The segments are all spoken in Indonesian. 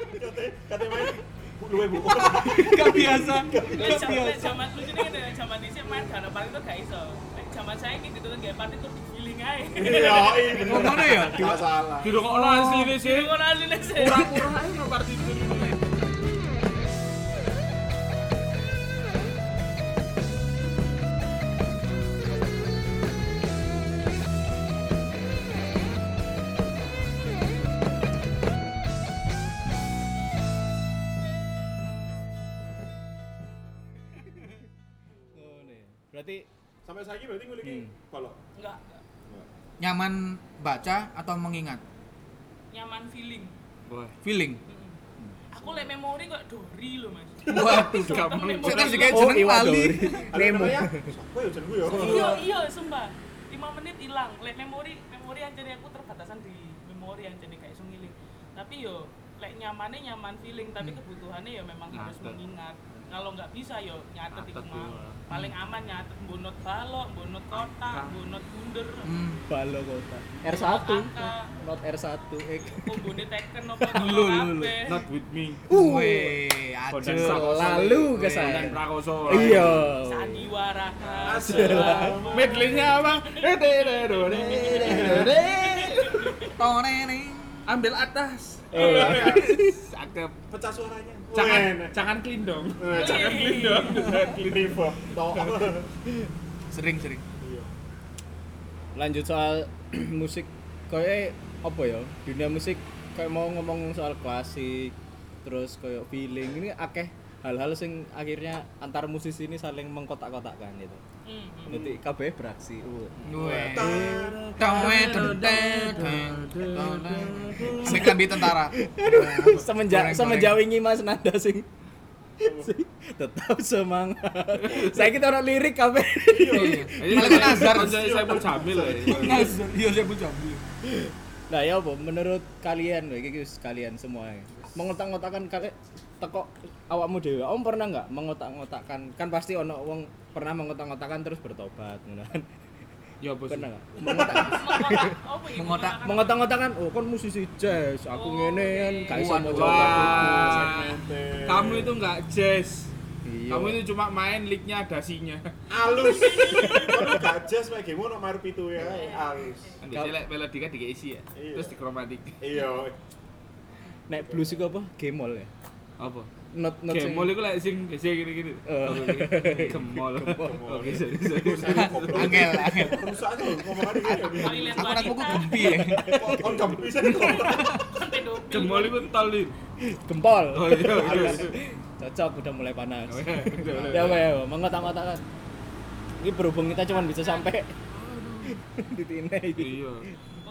katanya katanya main bu luwe bu Iya, Gak biasa. Lek Gak zaman biasa. zaman lucu nih kan zaman dhisik main gak ada partitur gak iso. Lek zaman saya gitu tuh gak partitur feeling ae. iya iya bener Ngono ya. nggak salah Duduk kok asli ini sih. Jadi ngono asline sih. Kurang-kurang aja no partitur ini. Berarti sampai saiki berarti gue lagi Hmm. kalau Enggak nyaman baca atau mengingat nyaman feeling. wah. feeling Mm. Aku lek memori kok Dori loh Mas. waduh Gampang. saya kan juga Oh, jeneng iya, lali Nemo ya gue ya gue ya Iya iya sumpah. 5 menit hilang. Lek memori memori anjane aku terbatasan di memori anjane gak iso ngiling. Tapi yo lek nyamannya nyaman feeling tapi kebutuhannya ya memang harus Hmm. Nyatet. mengingat. Kalau nggak bisa yo nyatet iku Nyatet mau. iya. Paling aman nyatet bonot balok, bonot kotak, Angka. bonot bunder. Hmm. Balo kota. bonot R1. Angka, Not R1. Eh, kombone teken apa ngono Lu lu lu. kabeh. Not with me. Weh, Bondan ajeng. Prakoso. Selalu ke Weh. sana. Dan Prakoso. Iya. Sandiwara. Iya. Iya. Asal. Medleynya abang. Eh, deh, deh, deh, deh, deh, deh. Torereng. Ambil atas. Eh, Iya. Cakep. Iya. pecah suaranya Jangan, Weh, jangan kelindong. eh, jangan Wih. Livo tau sering sering iya Lanjut soal musik. Kayak apa ya? Dunia musik kayak mau ngomong soal klasik, terus kayak feeling ini akeh hal-hal sing akhirnya antar musisi ini saling mengkotak-kotakkan gitu. Mm-mm. Hmm. Nanti kabeh beraksi. Uh. Weh. Tar- Tawe tenteng. Sing lebih tentara. semenjak Goreng-goreng. semenjak wingi Mas Nanda sing sing tetap semangat. Saya kita orang lirik kabeh. Iya. Malah kan Nazar. Saya pun jamil. Nazar. Iya, saya pun jambil. Nah, ya apa menurut kalian iki iki wis kalian semua ya. Mengotak-ngotakan kalian teko awakmu dhewe. Om pernah nggak mengotak-ngotakan? Kan pasti ono wong pernah mengotak-ngotakan terus bertobat ngono kan. Ya bos. Pernah nggak? Mengotak- Mengotak, apa ya? Mengotak. Mengotak-ngotakan, oh kon musisi jazz, Oh, aku ngene kan, oke. gak iso Waduh. maca lagu. Wah. Kamu itu nggak jazz. Iya. Kamu itu cuma main licknya ada sinya. alus kalau gajas kayak gimana nomor pitu ya Iya. alus Nanti saya melodika diisi ya. Iya. Terus dikromatik. iya nek blues iku apa? Gemol ya. Apa? Not not sing- Gemol itu lah sing sing gini gini. Eh. Gemol. Gemol. Oke, sorry, sorry. Angel, angel. perusahaan tuh ngomongannya gini Toilet Aku nak aku wanita. gempi ya. ya Kon- kon gak Iya. bisa Kan pedofil. Gemol itu tolin. gempol. Oh iya. iya. Cocok udah mulai panas. Oh, iya. Udah, udah, ya udah. apa ya, apa? mengotak-ngotakan. Ini berhubung kita cuma bisa sampai di tine iki. Iya.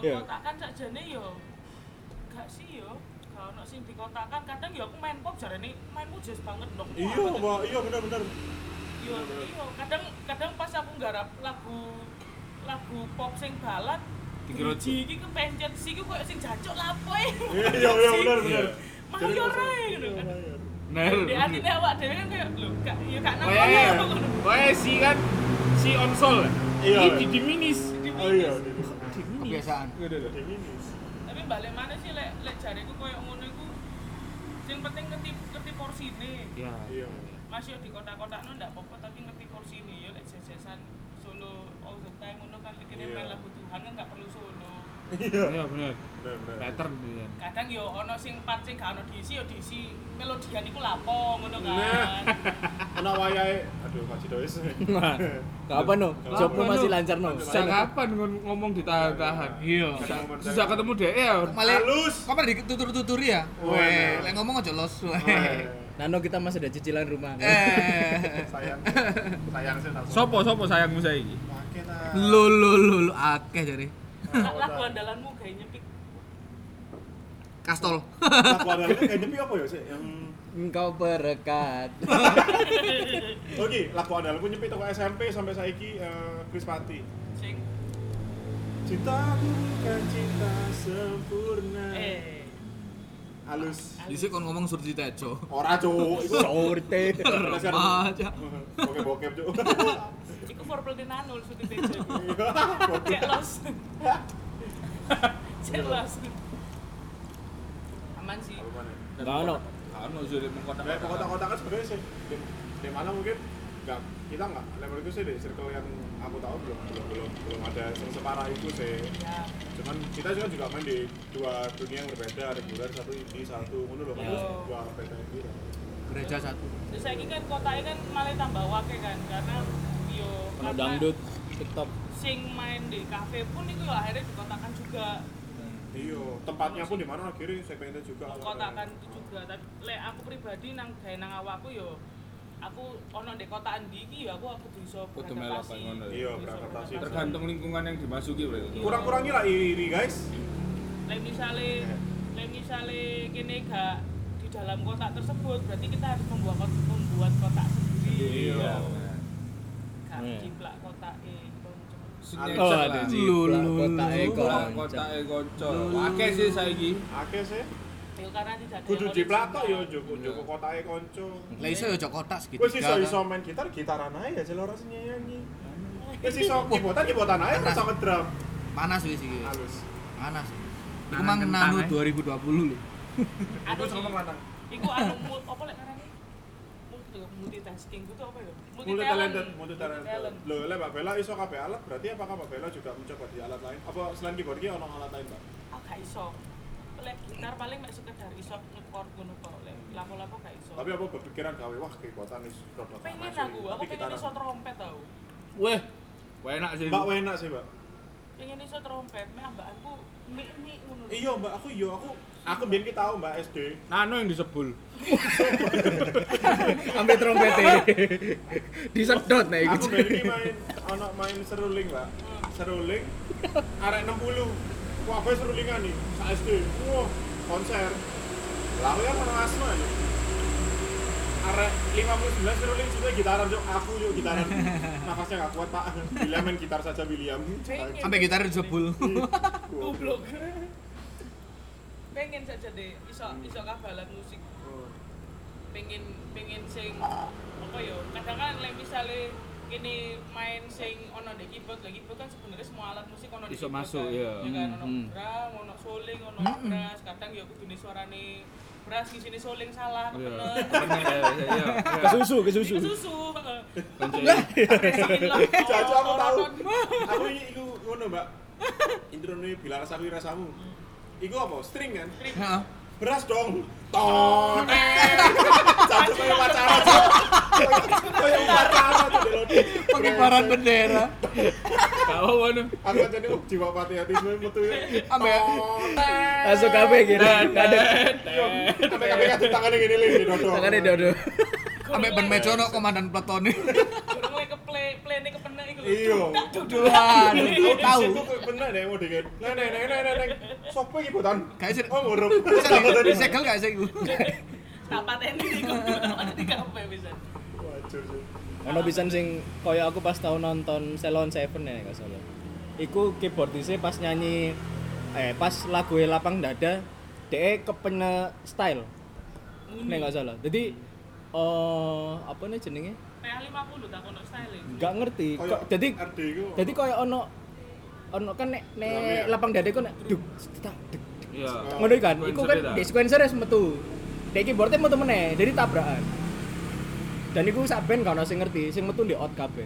Iya. Pengkotakan sajane yo. Gak sih yo. Gak ono sing dikotakan. Kadang yo aku main pop jarane mainmu jazz banget dong. iya Wah, Mbak. iya benar-benar Yo yo kadang kadang pas aku nggarap lagu lagu pop sing balad Dikira Guji iki kepencet sih iku koyo sing jancuk lapo e. iya iya iya benar-benar Mau yo rae ngono oh, kan. Nah, Di atine awak dhewe kan koyo lho gak yo gak Oh, ya, nang iya, Kayak kono. kayak si kan si onsol. Iya. Ini diminis. oh iya Kebiasaan. Diminis. Tapi balik mana sih lek lek jariku koyo ngono iku sing penting ngerti ngerti porsine. Ya. iya masih di kota-kota nu ndak apa-apa tapi ngerti porsi ini ya lek jajasan solo all the time ngono kan pikirnya Iya. main lagu Tuhan kan nggak perlu solo iya Iya benar. Nah, benar-benar Pattern ya. kadang yo ono sing part sing gak ono diisi yo diisi melodian iku lapo ngono Nah. kan anak wayai aduh Pak Cidois Nah, gak apa no, Gak jobmu apa, Iya. masih no. lancar no. Sejak kapan ngon- ngomong ditahan-tahan? Iya. Sejak- Sejak ketemu dia ya. Iya. Malah Halus. Oh, iya. Kok malah ditutur-tuturi ya? Weh. Weh, lek ngomong aja los. Weh. Nano kita masih ada cicilan rumah. Eh. sayang sayang sih tak Sopo sopo sayangmu saiki? Makin, ah. Lu lu lu lu akeh jare. Lah, lagu andalanmu kayak nyepik Kastol. Lagu andalan itu kayak nyepi apa ya sih yang Engkau perekat. oke lagu andalanku nyepi toko SMP sampai saiki eh, Chris Pati sing cintaku bukan cinta sempurna eh halus Dhisik kon ngomong surti tejo. ora cuk itu Sorte. dasar Remaja. bokep bokep cuk iku forpel denanul sudah tejo Iya. Bokep. cek los cek los sama Albuman sih. Albuman ya. Nggak ono. Kan mau jadi mengkotak. Dari kotak-kotak kan sebenarnya sih di, di mana mungkin nggak kita nggak level itu sih di circle yang aku tahu belum belum belum, belum ada yang separah itu sih. Ya, Cuman kita juga juga main di dua dunia yang berbeda, reguler satu indie satu ngono loh kan Iya. dua beda indie. loh. gereja satu terus saya kan kotanya kan malah tambah wake kan karena yo Ono karena dangdut, TikTok. sing main di kafe pun itu ya akhirnya dikotakan juga Iya, tempatnya pun di mana akhirnya segmennya juga. kotakan itu juga tapi le aku pribadi nang gawe nang awakku yo aku ono di kotaan di iki yo aku aku bisa Kudu melu apa ngono ya. Iya, beradaptasi. Tergantung lingkungan yang dimasuki, Bro. Iya. Kurang-kurangi lah ini guys. le misale le misale kene gak di dalam kotak tersebut berarti kita harus membuat kot- membuat kotak sendiri Iya. gak Iya. jiplak kotak e Snapchat Oh, lah. ada Ji. jiplak, Lulu. kotak ekor. Kotak-kotak konco. Akeh sih saiki. Oke sih. yo karena tidak ada Kudu yang di plato original. yo joko joko kotae konco. lah iso yo cok kotak segitiga Wes iso iso kan. main gitar gitaran aja sih loro nyanyi. Wes iso keyboardan keyboardan aja terus sama drum. panas wis iki Halus. panas Iku Nanan mang kentang, nano eh. 2020 lho. Aduh, Aku sama lanang. Iku anu mut apa lek karane? Mut multitasking gitu apa ya? Multi talented, multi talented. Multi-talent. Loh, lek Mbak Bella iso kabeh alat, berarti apakah Mbak Bella juga mencoba di alat lain? Apa selain keyboard ki ono alat lain, Mbak? Aku gak iso. Lek gitar paling mek sekedar iso ngekor ngono kok. Lek lapo-lapo gak iso. Tapi apa berpikiran gawe wah keyboardan is rada pengen aku, aku pengen iso trompet tau. Weh, wah enak sih. Mbak enak sih, Mbak. Pengen iso trompet, mek ambakanku mik-mik ngono. lho. Iya, Mbak, aku iya aku aku biyen ki tau Mbak SD. Nano yang disebul. Ambil trompete. Disedot nek iku. Aku biyen ki main ono main seruling, Mbak. Seruling arek 60. Wah, apa serulingan nih? Sa SD. Wah, konser. Lah aku kan ono asma ya. Arek 59 seruling juga gitaran, Jok. Aku yuk gitaran. Nafasnya nggak kuat, Pak. William main gitar saja William. Pengen. Sampai gitar jebul. goblok. pengen saja deh iso iso kabalan musik. pengen pengen sing apa yo kadang kan like misalnya gini main sing ono di keyboard lah keyboard kan sebenarnya semua alat musik ono di Iso keyboard masuk, kan. iya. kan ono Hmm. drum ono soling ono brass kadang ya kudu suarane brass di sini soling salah Iya. bener Iya. Kesusu, Itu kesusu. susu Kenceng. Jajan aku tahu. tahu Aku ini iku ngono, Mbak. Introne bila rasaku rasamu. Iku apa? String kan? Heeh. Beras dong. Tone. Satu kayak pacaran. Cok. Kayak pacaran tuh Delodi. Iya. Pengibaran bendera. Gak apa-apa Nun. Aku jadi uh, jiwa pati hati semua metu ya. Ambe Masuk kafe kira. Nggak Nah, ada. Sampai kabeh kan tangannya gini lagi dodong. Tangannya dodo. ambe ben meja ono komandan platone. Kurang ke play play ini kepenak iku. Iya. Duduhan, Aku tahu. tahu. Aku bener deh mau deket. Nah, nah, nah, nah, nah, nah. Sopo iki botan. Kayak sih- Oh, ngurup. Bisa disegel gak sih iku? Tak pateni iku. Tak pateni kabeh bisa. Wajur sih. Ono pisan sing koyo aku pas tau nonton Salon Seven ya gak salah. Iku keyboardise pas nyanyi eh pas lagu Lapang Dada dhek kepene style. Nek gak salah. Jadi eh apa nih jenenge? PH 50 tak kono style. Gak ngerti. Kayak Kok- Jadi RD iku. Jadi koyo ono ono kan nek Drumnya. nek lapang dada ku nek duk tak duk. Iya. Ngono kan, iku Sequencer-nya kan dah. di sequencer wis metu. Dek keyboardnya metu meneh, dari tabrakan. Dan iku sak band gak ono sing ngerti, sing metu di out kabeh.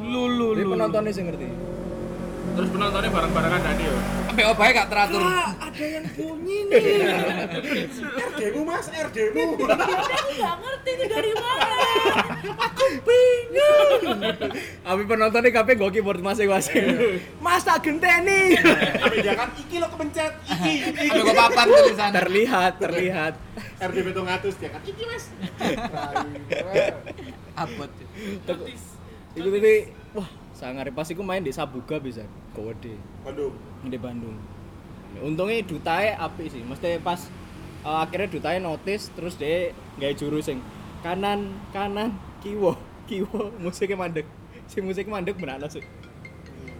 Lulu Dari lulu. penontonnya sing ngerti. Terus penontonnya bareng-barengan tadi yo. Ambe obahe gak teratur. ada yang bunyi nih. RD-mu Mas, RD-mu. Aku gak ngerti ini dari mana. Abi penontonnya kabeh go keyboard masing-masing. Mas tak genteni. Tapi jangan iki lo kepencet, iki, iki. Ambe kok papan tulisan. terlihat, terlihat. RD betul ngatus dia kan. Iki mas. Rai. Abot. Notis. Iku tadi wah, sangar pas iku main di Sabuga bisa. Kode. Bandung. di Bandung. Untungnya dutae apik sih. Mesti pas uh, akhirnya dutae notice terus dia nggak juru sing kanan kanan kiwo kiwo musiknya mandek. Si musik mandek berano sih.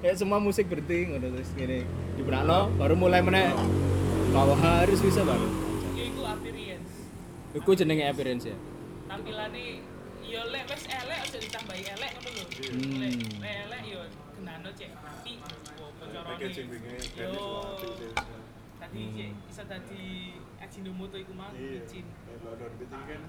Ya semua musik berhenti ngono terus gini. Di baru mulai meneh. Kau harus bisa baru. Iku appearance. Iku jenenge appearance ya. Tampilane yo iya, lek wis elek aja ditambahi elek ngono lho. Hmm. Lek lek elek iya, yo genano cek api. Packaging Yo. ini. dadi Iya. cek iso dadi Ajinomoto iku mau Hmm. Iya. izin. Eh, Lodon Beat ini kan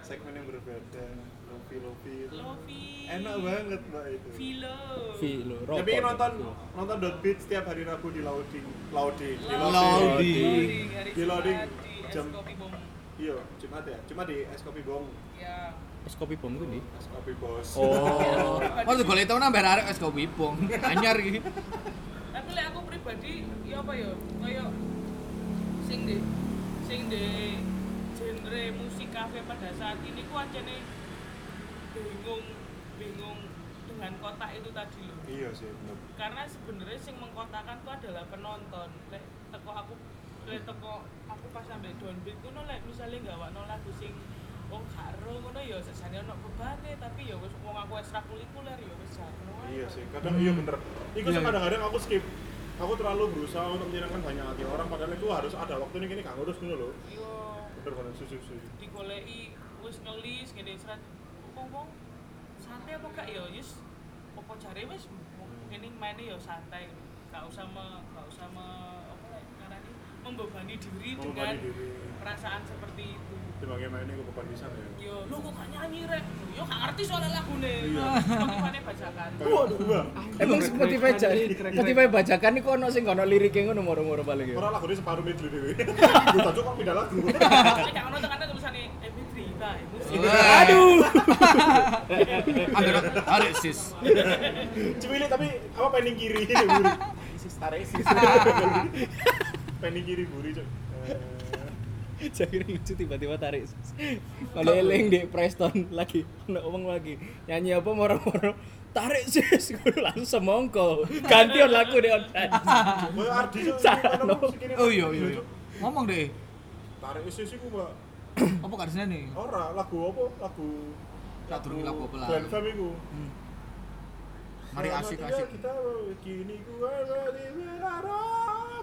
segmen yang berbeda. Lofi lofi. Lofi. Enak banget mbak itu. Vilo. Vi lo, rokok. Tapi nonton nonton dot beat setiap hari Rabu di Laudi. Laudi. Di Laudi. Loading, hari Di loading. Jumat, di es Jam- kopi bom. Iya, Jumat ya. Cuma di Es Kopi Bong. Ya. Es kopi bom gue nih. Es Kopi Bos. Oh. Oh, tuh boleh tau nambah arek es kopi pong. Anyar iki. tapi lek aku pribadi ya apa ya kaya sing di sing di genre musik kafe pada saat ini ku acene bingung bingung dengan kotak itu tadi loh Iya sih. bener. karena sebenarnya sing mengkotakan itu adalah penonton lek teko aku lek teko aku pas sampe downbeat kuno lek misalnya nggak wakno lagu sing wong gak ero ngono ya sesane ono bebane tapi ya wis wong aku ekstrakurikuler ya wis jarno ae. Iya sih, kadang iya bener. Iku sih Iya, iya. kadang-kadang aku skip. Aku terlalu berusaha untuk menyenangkan banyak hati orang padahal itu harus ada waktu ini kini gak ngurus dulu loh. Yo. Bener bener susu susu. digoleki wis ngelis ngene serat wong-wong santai apa gak ya yus apa jare wis Hmm. ngene maine ya santai gak usah me, gak usah me, apa lah ngarani membebani diri Gitu dengan Membebani diri. perasaan seperti itu Sebagaimana ini gue bukan bisa ya. yo lu kok gak nyanyi rek yo gak ngerti soalnya lagune Iya. Spotify-ne bajakan Waduh, wah. Emang Spotify jadi Spotify bajakan nih kono sing kono liriknya ngono moro-moro paling ya. Orang lagu ini separuh mid dulu Gue tajuk kok pindah lagu. Nek gak ono tekane tulisane MP3 ta musik Iya. Aduh. Ambil arek sis. Cimili tapi apa pending kiri ini buri. Sis tarik sis. Pending kiri Eh, buri cok. Jadi lucu tiba-tiba tarik. Kalau eling di Preston lagi ono omong lagi nyanyi apa moro-moro tarik sis Gua langsung semongko ganti on lagu deh on Gue Ardi cok. Sarno. Oh iya iya. iya. Ngomong deh. Tarik sis sih gue Apa karisnya nih? Ora lagu apa? Lagu Tak durung lagu apa lah. Glenn Fam iku. Mari Selama asik tiga asik. Kita begini gua di menara.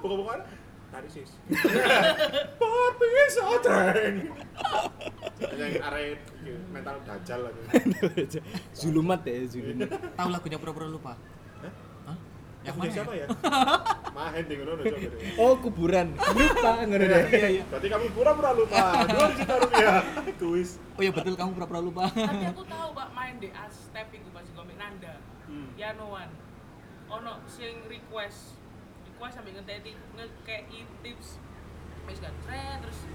Bukan-bukan. Tadi sis. Perpisah tren. Yang arek iki, mental dajal lagi. Zulumat ya Zulumat. Tahu lagunya pura-pura lupa. Hah? Yang mana? siapa ya? ya? Mahen di ngono coba deh. Oh kuburan lupa ngono deh. Berarti kamu pura-pura lupa. 2 juta rupiah. Kuis. Oh iya betul kamu pura-pura lupa. tapi aku tahu pak main di Astep iku pas komik Nanda Hmm. Yanoan ono sing request request sampe ngeteti ngekei tips wis kan tren, terus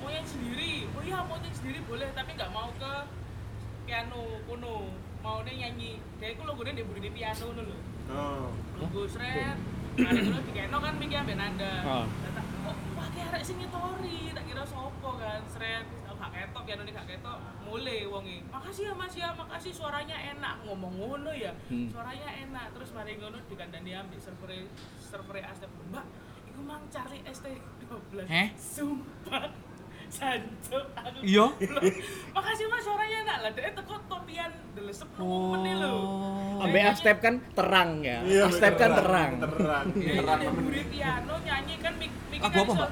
mau yang sendiri oh iya mau yang sendiri boleh tapi nggak mau ke piano kuno mau nyanyi dia aku logonya di budi piano nu lho Oh. Hmm. logo sret ada dulu di keno kan mikir ambil nanda Ah. Tak- kok pakai arek sing nyetori tak kira sopo kan sret aku gak ketok piano ini gak ketok mulai wongi makasih ya mas ya makasih suaranya enak ngomong ngono ya Hmm. suaranya enak terus mari ngono dikandani ambil server server astep mbak iku mang Charlie ST 12 Heh? sumpah Sanjo, aku Iya? Makasih mas suaranya enak lah, dia teko topian delesep Oh. meneh lho. Ambe Astep kan terang ya. Iya, Astep kan terang. Iya, Terang. Iya, Jadi Terang. ada Budi Piano nyanyi kan mik mik Lagu kan apa, iso- Mbak?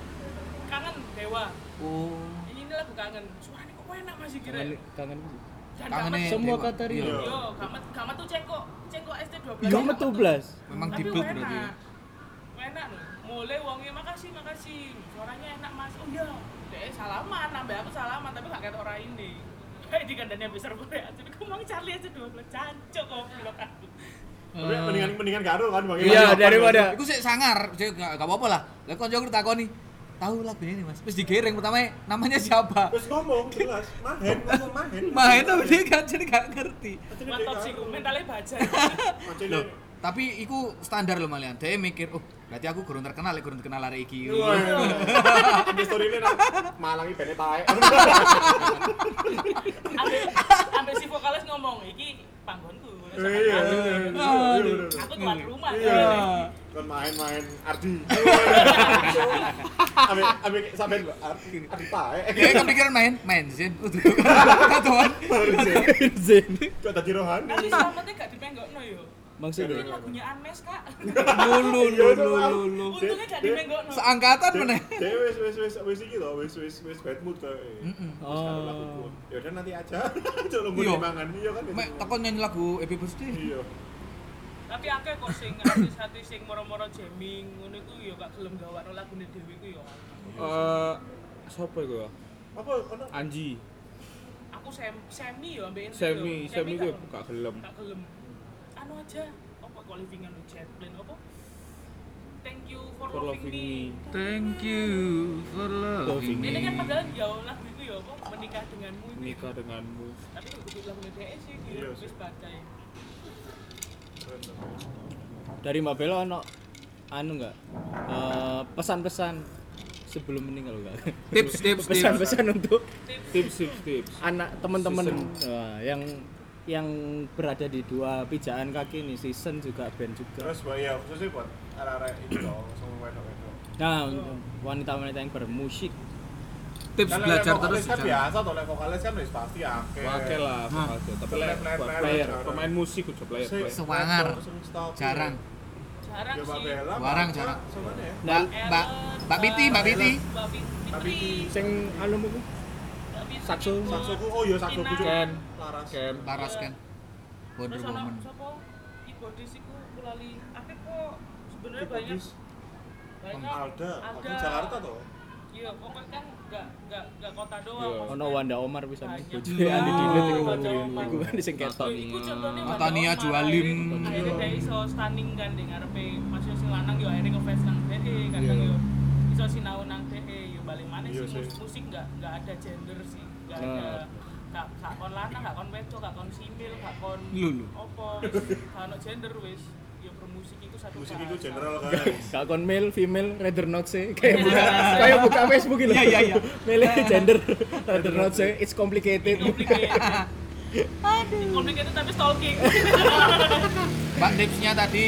kangen Dewa. Oh. Ini ini lagu kangen. Suaranya kok enak masih kira. Kangen kangen. Dan Kangennya Gamet- Semua Dewa. kata Rio. Iya. Yo, gamet gamet tuh cengko cengko ST12. Kamu tuh belas. Memang Tapi dibut enak. berarti. ya. Enak loh. Mulai wongnya makasih makasih. Suaranya enak Mas. Oh iya. Dek salaman, nambah aku salaman tapi gak ketok ora ini. Kayak di kandangnya besar boleh. ya. Jadi aku mau Charlie aja 12 cancok goblok aku. Tapi mendingan mendingan garo kan bang. Iya, daripada- Iku sik sangar, sik gak gak apa-apa lah. Lah konco aku takoni, tahu lagu ini Mas. Terus digereng pertama namanya siapa? Terus ngomong jelas, mahen, ngomong mahen. Mah itu dia kan jadi gak ngerti. Mantap sih, ku, mentalnya bajai. Loh. Loh, tapi iku standar loh malian. Dia mikir, oh berarti aku kurang terkenal, ya kurang terkenal lari iki. Iya. Di story ini nak malangi bene tae. Ambil ambil si vokalis ngomong iki panggonku. Iya. Aku tuan rumah. Iya. kan. Kan main-main Ardi. Abe abe sampean Mbak, Ardi Ardi tae. Dia kepikiran main, main Zen. Udah, ketahuan. Zen. Kok tadi rohani. Tapi selamatnya gak dimenggokno yo. Maksudnya Ini lagunya Ames kak. Lulu, Iya, lulu, lulu. Untungnya gak dimenggokno. Seangkatan mana? Dewe wis wis wis wis iki to, wis wis wis bad mood kae. Mm-mm. Oh. Ya udah nanti aja. Coba nunggu Iya. dimangan. Iya kan. Mek, takon nyanyi lagu Happy Birthday. Iya. Tapi akeh kok sing artis-artis sing moro-moro jamming ngono iku ya gak gelem gawakno lagune dhewe iku ya. Eh, siapa itu ya? Apa ono? Anji, Aku sem semi ya ambek Enrico. semi, semi gue gak- gak gelem. tak gelem anu aja apa kok living on jet plane apa thank you for, For loving, me, loving Thank you for loving Loving ini me. kan padahal jauh lagu itu ya apa menikah denganmu itu. Nikah denganmu. tapi itu lagu DE E sih Iya dia sih. wis baca ya Dari Mbak Bella ono anu enggak? Eh, pesan-pesan sebelum meninggal enggak? Tips, tips, tips. Pesan-pesan untuk tips tips tips tips anak teman-teman Wah, yang yang berada di dua pijakan kaki ini season juga band juga Terus Mbak, ya khususnya buat arah-arah itu loh, sama wedok-wedok. nah untuk wanita-wanita yang bermusik Tips Kan lek belajar terus. vokalis kan jangan- biasa toh, lek vokalis kan wis pasti akeh. pakai lah Hah. pakai. tapi Player, player, player, buat player, player, jarang. pemain musik udah player, Sik, player. Sewangar. wedok, sing stop. Jarang. jarang Ya Mbak sih Bella. Warang, Mbak, jarang. sama deh. nah Ellen, Mbak- Mbak Piti, Mbak Piti. Mbak Mbak Piti Piti. sing anu mu Mbak Piti Sakso, ikut. Saksoku, oh iya saksoku juga. Ken. Laras. Ken Laras kan. Wonder terus Woman. anak siapa keyboardis iku kulali akeh kok sebenarnya banyak Keyboardis. banyak Alda, Alda. Alda Jakarta toh. Iya, pokoknya kan nggak nggak nggak kota doang. Iya. maksudnya. ono Wanda Omar bisa Banyak. nih bojo Iya. andi dinet iku Wanda Omar. iku kan sing ketok Iku- iku contohnya Wanda Natania Omar, Jualim. akhirnya- Akhirnya dia iso stunning kan di ngarepe Mas Yosi lanang yo akhirnya ngefans nang DE, kadang Iya. yo iso sinau nang DE, yo balik mana Iya sih sih. mus- musik nggak nggak ada gender sih, nggak Nah. ada gak gak kon lanang, gak kon wedok, gak kon simil, gak kon Lho, lho. opo, wis. gak ono gender wis. Yo bermusik itu satu Musik bahasa. itu general kan. guys. Gak kon male, female, rather not say Kayak buka, kayak buka Facebook gitu Iya, iya, iya Male, gender, rather not say It's complicated Complicated. Complicated tapi stalking. Pak tipsnya tadi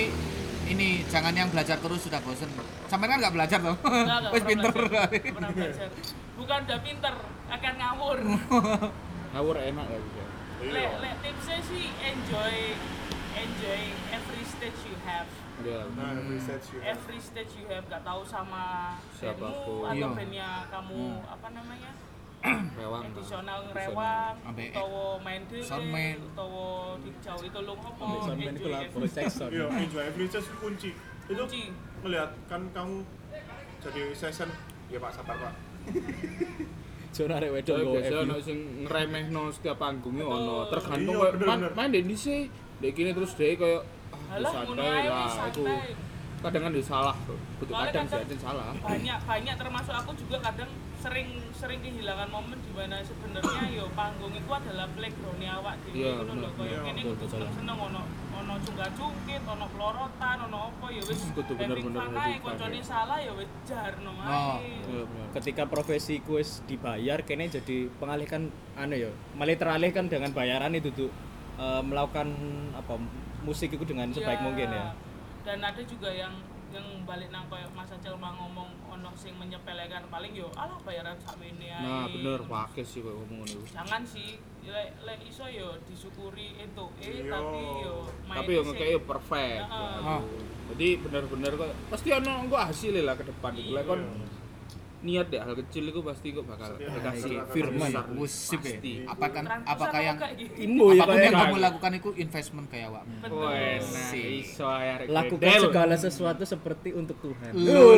ini jangan yang belajar terus sudah bosen. Sampai kan nggak belajar toh. Enggak, enggak Wes pernah pinter. belajar. Enggak pernah belajar. Bukan udah pinter, akan ngawur. Ngawur enak ya, gak bisa Iya. Lek lek tipsnya sih enjoy enjoy every stage you have. Iya Nah, research you. Every stage you have gak tahu sama Siapapun. bandmu atau Iya. bandnya kamu apa namanya? Rewang Edisional rewang, Ambe- utawa main dhewe, Soundman. utawa dijauhi tolong apa, Sampai itu enjoy lah, every bocek sound. Iya, enjoy every stage itu kunci. Itu Kunci. melihat kan kamu jadi session ya Pak sabar Pak. Jono arek wedok Soalnya nggo biasa ya. FU. ono sing ngremehno setiap panggungnya ono tergantung Iya, koyo bener, main bener. main dek dhisik dek kene terus dek koyo ah, Alah, ngono santai ae lah wis aku santai. kadang kan dia salah bro. Kudu Soalnya kadang kadang- Iya, dia salah banyak banyak termasuk aku juga kadang sering sering kehilangan momen di mana sebenarnya yo panggung itu adalah playground awak dhewe Iya, ngono lho bener. koyo Iya, kene betul, kudu betul. seneng ono ono cunggat-cungkit, ono pelorotan, ono apa ya wis Kudu having bener-bener fun ae having fun, koncone ya. salah ya wis jarno Oh, ae. Iya, bener. Ketika profesi kuis dibayar, kene jadi pengalihkan anu ya, malah teralihkan dengan bayaran itu tuh eh, melakukan apa musik itu dengan sebaik Iya. mungkin ya. Dan ada juga yang yang balik nang koyo Mas Acel mah ngomong ono sing menyepelekan paling yo alah bayaran sakmene ae. nah bener wakil sih koyo ngomong ngono iku. jangan sih lek lek iso yo disyukuri itu eh Iya. tapi yo main tapi yo sih. ngekei perfect Heeh. Waduh. jadi bener-bener kok pasti ono engko hasil lah ke depan iku Iya. lek kon niat deh hal kecil itu pasti kok bakal Pasti. berkasih Iya, Firman, besar. wusip ya. Pasti. Oh, iya, Apakah Terang apakah terusan yang apa kayak gitu? Inmu ya apapun yang kayak kamu lakukan itu investment kayak awakmu. Bener. Wah, enak. Sih. iso arek lakukan gedel. segala sesuatu seperti untuk Tuhan. Lho,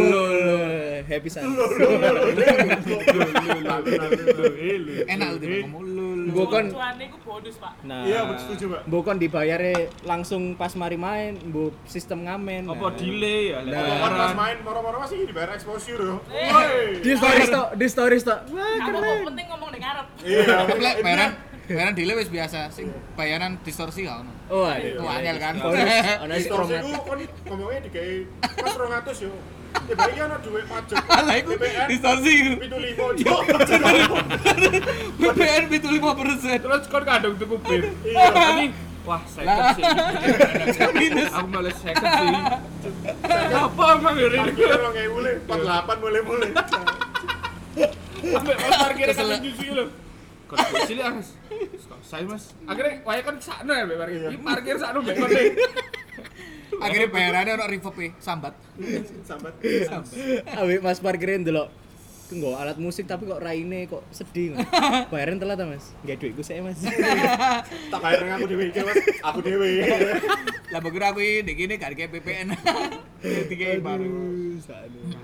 happy san. Iya. Enak lu tiba kamu lu. lu. Gua kan Cuan-cuannya itu bonus pak nah Iya, aku setuju Pak. Mbok kon dibayare langsung pas mari main, mbok sistem ngamen. apa Nah. delay ya lek Nah. Kalau kan pas bayaran. main moro-moro masih dibayar exposure yo. Eh. Di stories tok, di stories tok. Wah, Kamu kok penting ngomong di ngarep Iya, Tapi lek bayaran bayaran delay wis biasa sing bayaran distorsi ya ono. Oh, Iya, ada. Wah, angel kan. Ono Terus stromat. itu kan ngomongnya di kayak pas 200 yo. Ya bayi ana duit pajak. Lah iku BPN distorsi iku. 75 yo. BPN 75%. terus kon kadung tuku bib Iya. tadi wah seket Lah. sih aku malah seket sih apa emang ini Kira 2000 le, 48 mulai-mulai. sampai pas parkir kan Kesel. nyuci lho kon kok cilik ah, mas Kok saya mas akhirnya wae kan sakno ya mbak parkir Ini parkir sakno mbak kon deh. Akhirnya bayarannya ono reverb sambat. Sambat. Awik Mas Parkirin delok. ku nggo alat musik tapi kok raine kok sedih Mas. Bayaran telat ta Mas? Nggak duitku sih Mas. tak bayar nang aku dhewe iki mas aku dhewe Iya. Lah bagus aku ini dek ini gak kayak PPN. Tiga baru.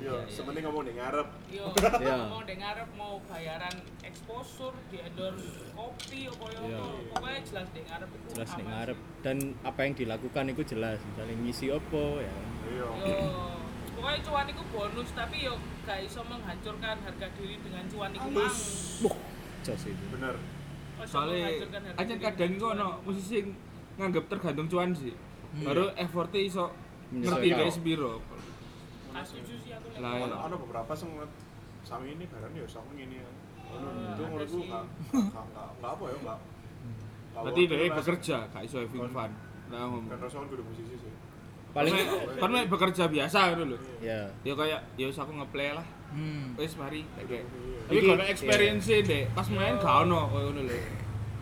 yo sementing ngomong ning ngarep Yo, Iya. mau dengar mau bayaran exposure, diador kopi, apa yo, Iya. pokoknya jelas dengar itu. jelas apa nek sih. ngarep dan apa yang dilakukan itu jelas misalnya ngisi opo ya yo Yo, pokoknya cuan itu bonus tapi yo gak iso menghancurkan harga diri dengan cuan itu mang. jos itu bener Gak iso soalnya menghancurkan harga aja diri kadang kok dengan cuan no itu. musisi sing nganggep tergantung cuan sih baru effortnya iso ngerti Menyesuaikan. kayak sepiro Ah, setuju sih aku nek. lah ono ya. ono beberapa sing ngeliat, sami ini barang yo sama ngene ya ono Iya, Hmm, itu ada menurutku sih. nggak nggak nggak nggak apa ya nggak nggak berarti worth it dia lah. bekerja gak iso having Kon- fun lah kan ngomong rasanya kudu musisi sih paling kan mek bekerja biasa ngono lho ya ya kayak ya wis aku ngeplay lah Hmm. wis mari kayak gitu. Iya. tapi kalau experience deh pas main gak ono kayak ngono lho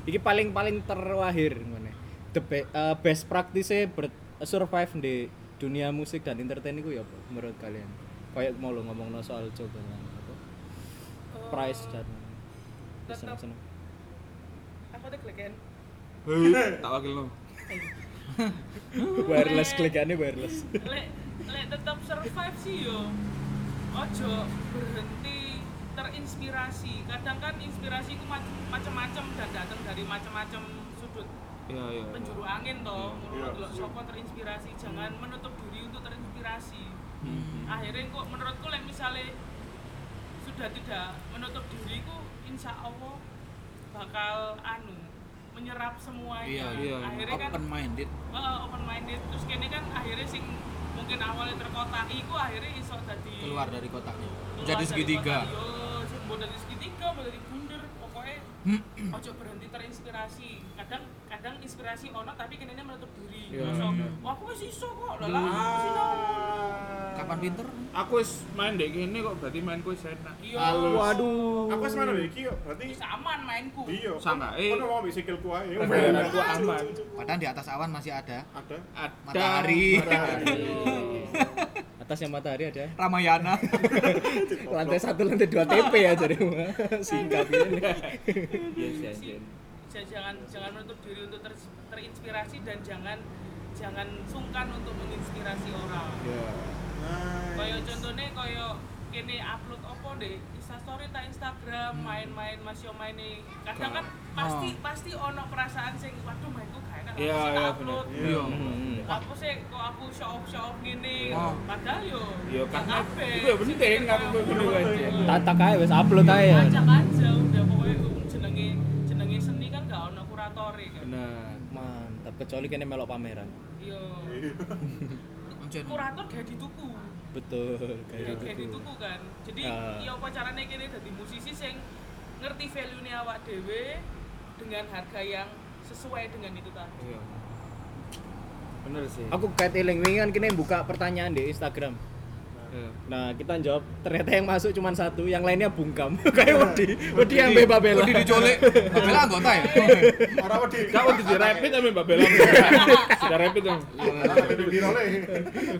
iki paling paling terakhir ngene the be- eh, best practice ber survive di dunia musik dan entertain itu ya apa menurut kalian kayak mau lo ngomong soal cobaan apa Eh, price dan tetap seneng-seneng. aku tuh kleken. Hei, tak wakil no wireless klikannya wireless lek lek tetap survive sih yo ojo berhenti terinspirasi kadang kan inspirasi itu macam-macam dan datang dari macam-macam sudut iya iya penjuru angin Iya. toh menurut lo sopo terinspirasi jangan menutup diri untuk terinspirasi akhirnya kok menurutku lek misalnya sudah tidak menutup diriku insya allah bakal anu menyerap semuanya Iya, iya. akhirnya kan Open minded. open minded terus kene kan akhirnya sing mungkin awalnya terkotak iku akhirnya iso jadi Keluar dari kotaknya. keluar Jadi dari segitiga. kotak. yo sing mau dari segitiga mau dari bundar pokoknya ojo berhenti terinspirasi kadang kadang inspirasi ono tapi kene menutup diri Iya, Masa, iya. wah aku wis iso kok lah lah aku wis iso." Kapan pinter? aku wis main deh gini kok berarti mainku wis enak Iya, waduh aku sebenarnya iki yo berarti wis aman mainku iya Sangka, eh. ono mau bisikil ku ae Perjalanan gua aman Padahal di atas awan masih ada Iya. ada Iya. ada Matahari. Iya. atasnya matahari ada Ramayana. lantai satu lantai dua TP ya jadi singkat ini yes yes yes Ja- jangan jangan menutup diri untuk ter- terinspirasi dan jangan jangan sungkan untuk menginspirasi orang nah kaya contohnya kaya kene upload opo deh instastory ta instagram Hmm. main-main mas yo maine kadang kan pasti pasti ono perasaan sing waduh mainku gak enak Oh. Iya, iya, aku sih tak upload bener. Iya. Hmm. aku sih kok aku show off show off gini Oh. padahal yo Iya, gak karena kabeh. itu ya penting, Kayak kan, itu ngono. bener aja. tata kae wis upload ae ya ajak aja udah pokoknya um, jenenge jenenge seni kan gak ono kuratore kan benar mantap kecuali kene melok pameran yo Iya. Oncen. kurator gak dituku betul Ya, kayak kayak gitu dituku kan. Jadi Ah. ya apa carane kene dadi musisi sing ngerti value-ne awak dhewe dengan harga yang sesuai dengan itu tadi. iya bener sih aku kayak eling wingan kene buka pertanyaan di Instagram Iya. nah kita jawab ternyata yang masuk cuma satu yang lainnya bungkam kayak wedi Iya. wedi yang beba bela Kok dicolek? Bela anggota ya? ora wedi Kak waktu di rapid tapi Mbak Bella sudah rapid dong.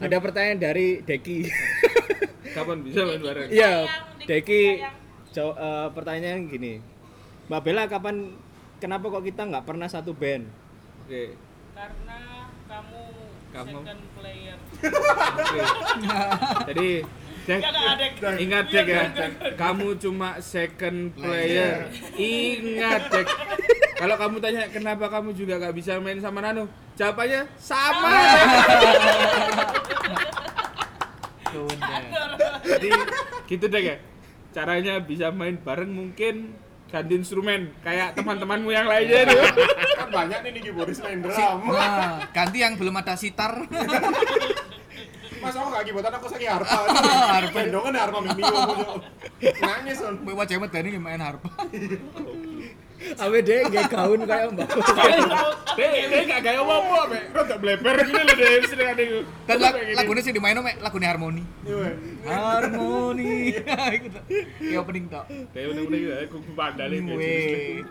ada pertanyaan dari Deki Kapan bisa main bareng? Iya, Sayang, Deki sayang. jawab, eh, pertanyaan gini Mbak Bella kapan kenapa kok kita nggak pernah satu band Oke. Karena kamu, Kamu. second player. Oke. Jadi Jack, Gak ada ada. ingat Jack ya, kamu cuma second player. Ingat Jack. Kalau kamu tanya kenapa kamu juga gak bisa main sama Nano, jawabannya sama. Tuh, Jadi gitu deh ya. Caranya bisa main bareng mungkin ganti instrumen kayak teman-temanmu yang lainnya tuh. kan banyak nih Niki Boris main drum Nah, ganti yang belum ada sitar. mas aku gak gibotan aku sakit harpa harpa dong kan harpa mimi ngomong. nangis on Mbak Wajah Ahmad Dhani main harpa. Awe deh nggak gaun kayak Mbak Dek, dek gak kayak apa-apa, Mek. Rada bleber gini lho, Dek, sini kan iku. Dan lag lagunya sih dimainin mek lagunya harmoni. Iya, Harmoni. Iku tok. Ya opening tok. Dek, udah-udah gitu, aku pandale Weh.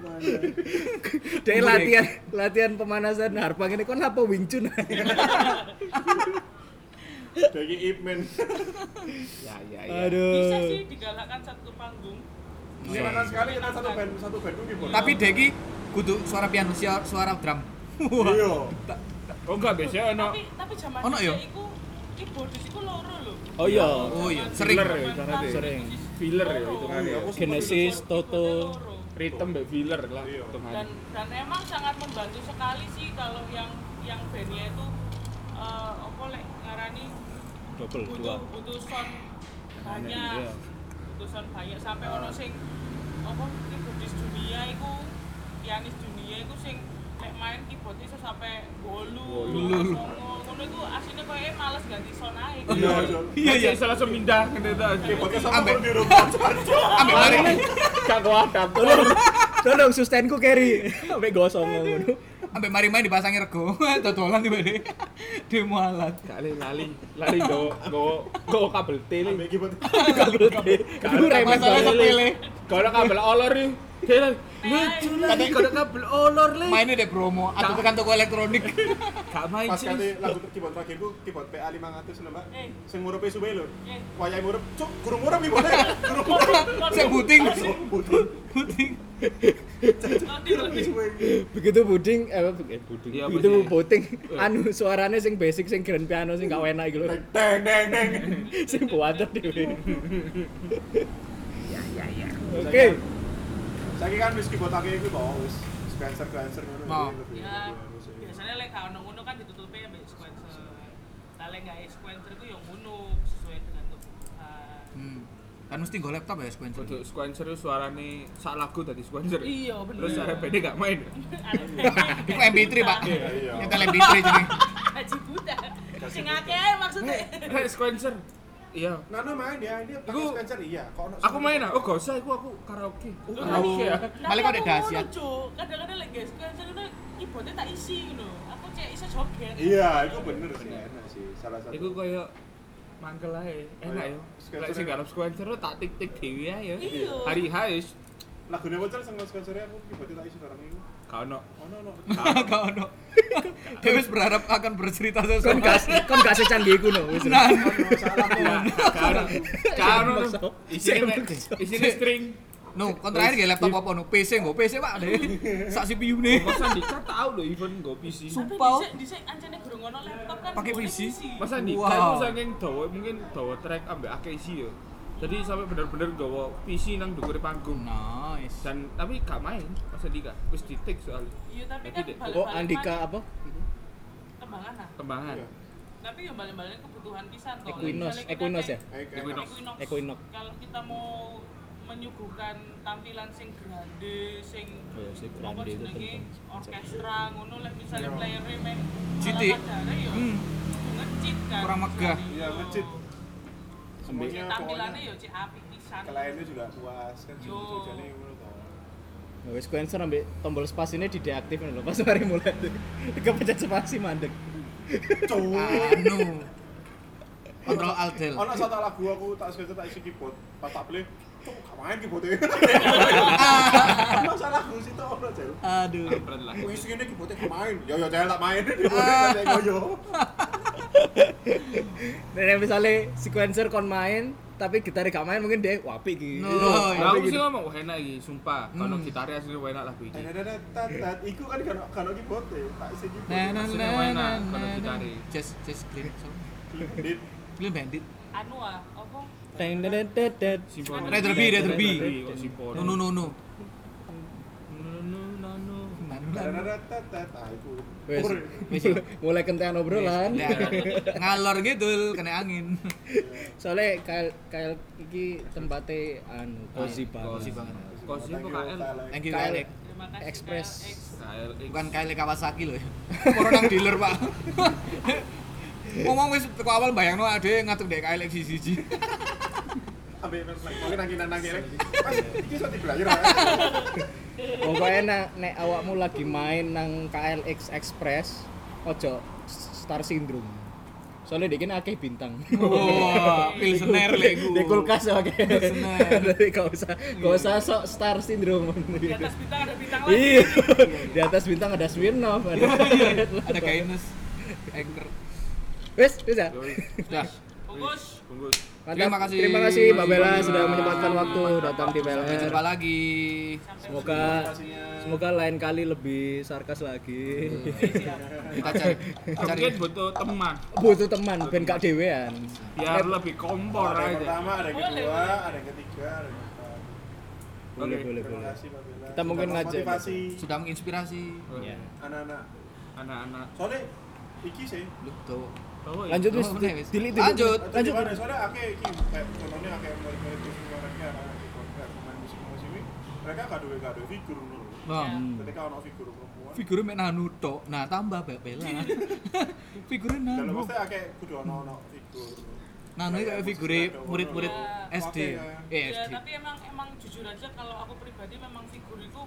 Dek latihan ya. latihan pemanasan harpa ini kan apa Wing Chun Bagi Ip men. Ya ya ya. bisa Aduh. sih digalakkan satu panggung Menyenangkan sekali kan satu band satu band mungkin. Bos. Tapi Deki kudu suara piano, suara, suara drum. Iya. Oh enggak biasanya ono tapi tapi zaman Ono ya? dhisik iku keyboard iku loro lho Oh iya. Oh iya, sering. Filler ya, ibaratnya. Sering. filler ya Loro. Iya, hitungannya ya. Genesis, Toto. Loro. Rhythm mbek filler lah Iya. hitungannya. dan dan emang sangat membantu sekali sih kalau yang yang bandnya itu eh apa lek ngarani Double dua. butuh butuh sound banyak Iya. Ah. butuh sound banyak sampai ono sing apa keyboardis dunia iku pianis dunia iku sing lek main keyboard iso sampai bolu Bolu. ngono iku asline koyo e males ganti sound ae Iya. Iya. Iya iya salah semindah ngene ta. Pakai sama Ambek. kalau di rumah. Ambek mari. Gak kuadap. Tolong sustenku carry. Sampai gosong ngono. Ambek mari main dipasangi rego. Dodolan tiba deh. Demo alat. Kali lali lali go go go kabel tele. Bagi buat. Aduh remeh Masalahnya sepele. Kalau kabel olor iki. Dele. Lucu lah. Tapi- Kalau kabel olor le. Mainnya deh promo atau tekan toko elektronik. Gak main Pas sih. kate lagu keyboard terakhirku keyboard PA 500 lho, Mbak. Eh. Sing ngurepe suwe lho. Eh. Wayahe ngurep, cuk, guru ngurep iki boleh. Guru ngurep. Saya buting. Butuh. Buting. Ngurep suwe. Begitu buding eh apa, eh, buding. Iya, Begitu buding. puting anu suaranya sing basic sing grand piano sing gak enak gitu. Deng deng deng deng. sing buat dhewe. Iya, Oke. Saiki kan wis keyboard akeh iku to, wis Spencer Spencer ngono. Iya, Nah. Lebih- ya lebih- lebih- biasanya lek gak ono ngono kan ditutupi ambek sequencer nah lek gak sequencer itu yang ngono sesuai dengan kebutuhan Hmm. Kan mesti go laptop ya sequencer. Untuk Squancer suarane sak lagu tadi Squancer. Iya, bener. Terus arep PD gak main. Itu MP3, Pak. Iya, iya. Nyetel MP3 jadi. haji buta sing akeh ae maksudnya Rek Squancer. Iya. Nana main ya, dia pakai Iku- Spencer iya. Kok ono- Aku main ah. Oh gak usah aku aku karaoke. Oh Loh, karaoke ya. tapi- Malah iya. tapi kok ada aku ngono, dahsyat. Cuk. kadang-kadang lek gak sequencer itu keyboardnya tak isi ngono aku cek iso joget Iya, itu bener sih, enak sih. Salah satu. Iku koyo mangkel ae. Enak yo. Squancer Lek sing enak. garap Squancer lu tak tik-tik dhewe ae yo. Iya. Hari hais. Lagune bocor sama Spencer aku keyboardnya tak isi barang iku. Gak ono. Ono ono. Gak ono. Dia wis berharap akan bercerita Kan Kon sesuatu. gas kon gas secanggih iku no wis. Nah, Ono salah Iya. aku. Gak ono. Gak ono. Isine isine string. no, kon terakhir gak laptop apa no? PC nggo PC Pak. deh. Sak CPU nih. Masa Dika tau lho event go PC. tapi Iya. Sumpah. dhisik dhisik ancene gurung ono laptop kan Pakai boleh PC. Masa Dika Wow. itu saking dawa mungkin dawa track ambek akeh isi yo. Jadi sampai bener-bener gawa PC nang dukure panggung. Nice. Dan tapi gak main Masa Dika. Wis ditik soalnya iya tapi Tapi kan deh. Oh balik-balik Andika mana- apa? kembangan ah kembangan. Iya. tapi yang balik-balik kebutuhan pisan toh. Equinox, Misalnya kita Equinox kayak- ya? Eik, eik. Equinox. Equinox. Kalau kita mau menyuguhkan tampilan sing grande, sing Oh iya sih, apa grande itu jenenge penting. orkestra ngono lah Iya. misalnya e playere meh Citik. ala kadarnya ya Hmm. ngecit kan. Kurang megah. Iya, ngecit. Semuanya Semuanya tampilannya pokoknya ya cek apik pisan. kliennya juga puas kan. Yo. Jujur-jujurnya ngono toh. Nah, Wis Squencer ambek tombol spasinya ini dideaktifin lho pas mari mulai. Kepencet spasi mandek. Anu. Kontrol alt del. Ono satu lagu aku tak sengaja tak isi keyboard, pas tak play, cuk gak main keyboardnya. Ono satu lagu sih tuh ono cel. Aduh. Kampret lah. Wih, sing ini keyboardnya gak main. Yo yo cel tak main keyboardnya kan cek yo. Nek misalnya sequencer kon main tapi gitar gak main mungkin deh wapi iki. No. Wah, Lah aku apik sih iki. ngomong wah enak iki, sumpah. Kalau Hmm. gitarnya asli wah enak lagu iki. Tadadadadadad. Iku kan kan kan keyboardnya, tak isi Nah, nah, keyboard. Aslinya nah, enak, nah, kalau nah. dicari. Just, just clean. So, Dit. clean bandit. Anu ah, apa? Teng dedet dedet. Simple. Red Derby, Red Derby. Kok simple. No, no, no, no. No, no, no, no. Nah, nah, nah. Tadadadadadad. Nah, iku. Wes. Ur. Wis, ya. Mulai kentean obrolan. Nah, Ngalor gitu, kena angin. Soalnya kayak kayak iki tempatnya anu cozy Cozy banget. banget. Kosi Thank apa you, KL? Kyle. Thank you, Kyle. Alec. Terima kasih. Express. KLX. KL. Bukan Kyle Kawasaki loh ya. Corona dealer, Pak. Ngomong wis teko awal bayangno ade ngatuk dek Kyle siji-siji. Ambil main flag. Mungkin nangkinan nangkin. Mas, iki iso dibelayar. ah. Pokoknya nek nek awakmu lagi main nang KLX Express ojo Star Syndrome. Soalnya dia kini akeh bintang. Wah, Oh, pilsener lek Di kulkas oke. Pilsener. Jadi gak usah gak usah sok Star Syndrome. Di atas bintang ada bintang lagi. Iya. Di atas bintang ada Smirnoff. Ada. Ada Guinness. Anchor. Wes, wes ya. Sudah. Bungkus. Bungkus. Mantap. Terima kasih. Terima kasih Mbak Bella sudah menyempatkan waktu datang di Sampai PLR. jumpa lagi. Semoga semoga lain kali lebih sarkas lagi. Kita cari cari Mungkin butuh teman Butuh teman ben gak dewean. biar lebih kompor ada yang aja. pertama, ada yang kedua, ada yang ketiga, ada yang keempat. Boleh, Oke. boleh, Terima boleh. kasih Mbak Bella. Kita mungkin Sudah ngajak- motivasi sudah menginspirasi. Ya. anak-anak. Anak-anak. Soalnya iki sih. Lu tuh. Tahu ya? Lanjut wis. Oh, di- wis. delete, delete. Lanjut. Atau Lanjut. gimana? Soalnya akeh iki kayak contohnya akeh murid-murid di Singapura, anak-anak di Korea, pemain musik-musik ini, mereka gak duwe gak duwe figur ngono lho. Nah, Ketika ono figur perempuan, figurnya mek nanu tok. Nah, tambah Mbak Bella. figurnya dalam nanu. mesti akeh kudu ono ono figur. Nanu iki Nah, kayak figure murid-murid Nah, SD. oke, Iya, Eh, Ya, SD. tapi emang emang jujur aja kalau aku pribadi memang figur itu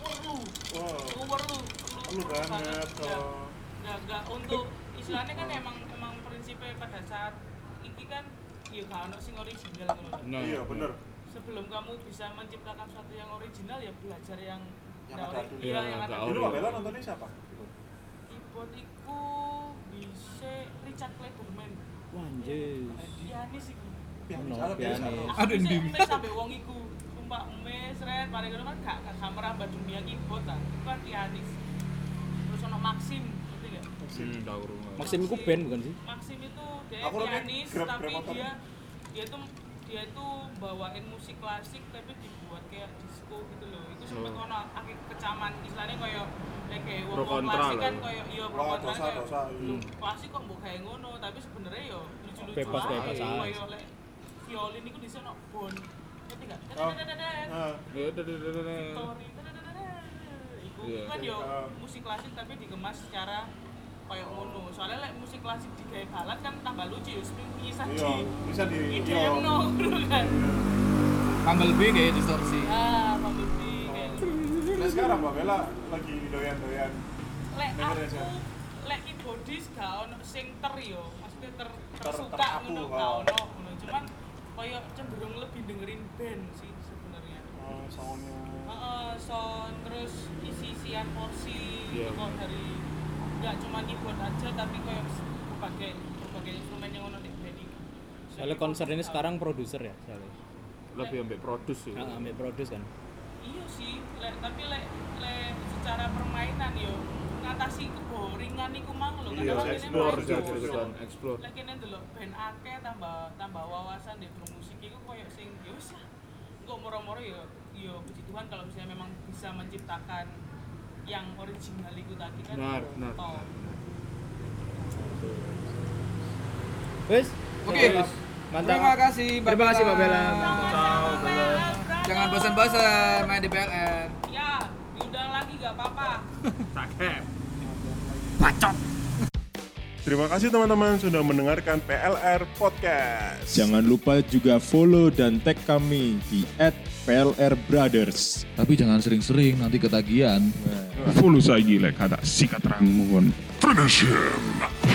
perlu. Wow, Perlu. perlu banget oh. Ya. toh. nggak nggak untuk istilahnya kan emang emang prinsipnya pada saat ini kan ya gak ono sing original ngono. Nah, Iya, bener. sebelum kamu bisa menciptakan sesuatu yang original ya belajar yang Yang nggak ada ori- dulu. iya, Iya, yang ada nggak Dulu dulu. Mbak Bella nontonnya siapa? keyboard iku bisa Richard Iya, Clayderman Wanjir. Dianis iku Pianis, Ono, ada pianis pianis. apa? Aduh, bisa ndi? umes sampe wong iku sumpah umes red paling ngono kan gak gak merambah dunia keyboard kan Iku kan Dianis terus ono Maxim ngerti nggak? hmm, tahu rumah. Maxim itu band bukan sih? Maxim itu dia Aku lebih pianis grab- tapi grab motor. dia dia tuh dia tuh bawain musik klasik tapi dibuat kayak disco gitu loh itu sempet Hmm. Oh. ono akeh kecaman istilahnya kayak kayak kayak Pro wong kontra klasik kan loh. kayak iya pro Wah, kontra ya. dosa, kayak dosa, iya. "Loh, klasik kok mbok kayak ngono tapi sebenarnya yo lucu-lucu Bebas, aja. bebas aja. Kayak lek violin itu di sana bon ngerti gak? Oh. Dadadadadadad. Nah, Ya, udah, udah, udah, udah. Story, dadadadadadad. Iku Iya. kan yo Ah. musik klasik tapi dikemas secara kayak ngono. Soalnya lek musik klasik digawe balad kan tambah lucu ya seminggu nyisah iya, di bisa di ide iya. yang no gitu kan. Bumblebee kayak distorsi. Ah, pamit kayak. gitu. Nah sekarang Mbak Bella lagi doyan-doyan. Lek Dengerin aku aja. lek keyboardis gak ono sing ter yo. Maksudnya ter Ter- tersuka terpaku, ngono oh. gak ono ngono. Cuman koyo cenderung lebih dengerin band sih sebenarnya. eh, soundnya. Heeh, sound terus isi-isian porsi gitu Iya, kok dari nggak cuma keyboard aja tapi kayak berbagai berbagai instrumen yang ono di band ini. Soalnya konser ini sekarang produser ya, soalnya. Lebih ambek produs ya. Nah, ambil produs kan. Iya sih, lek tapi lek lek secara permainan yo ngatasi keboringan iku mang lho. Iya, Kadang saya kene explore main jadi yo. kan explore. Lek kene delok band akeh tambah tambah wawasan di musik iku koyo sing yo wis lah. Engko moro-moro yo yo puji Tuhan kalau misalnya memang bisa menciptakan yang original iku tadi kan. Benar, benar, top. Wes. Oke. Mantap. Terima kasih Mbak Terima kasih, Mbak Bella. Sama-sama, Bel. Bravo. Jangan bosan-bosan main di PLN. Ya, diundang lagi gak apa-apa. Sakit. Terima kasih teman-teman sudah mendengarkan PLR Podcast. Jangan lupa juga follow dan tag kami di @plrbrothers. Nah. Tapi jangan sering-sering nanti ketagihan. follow saya gila kata sikat rangun. Finish him.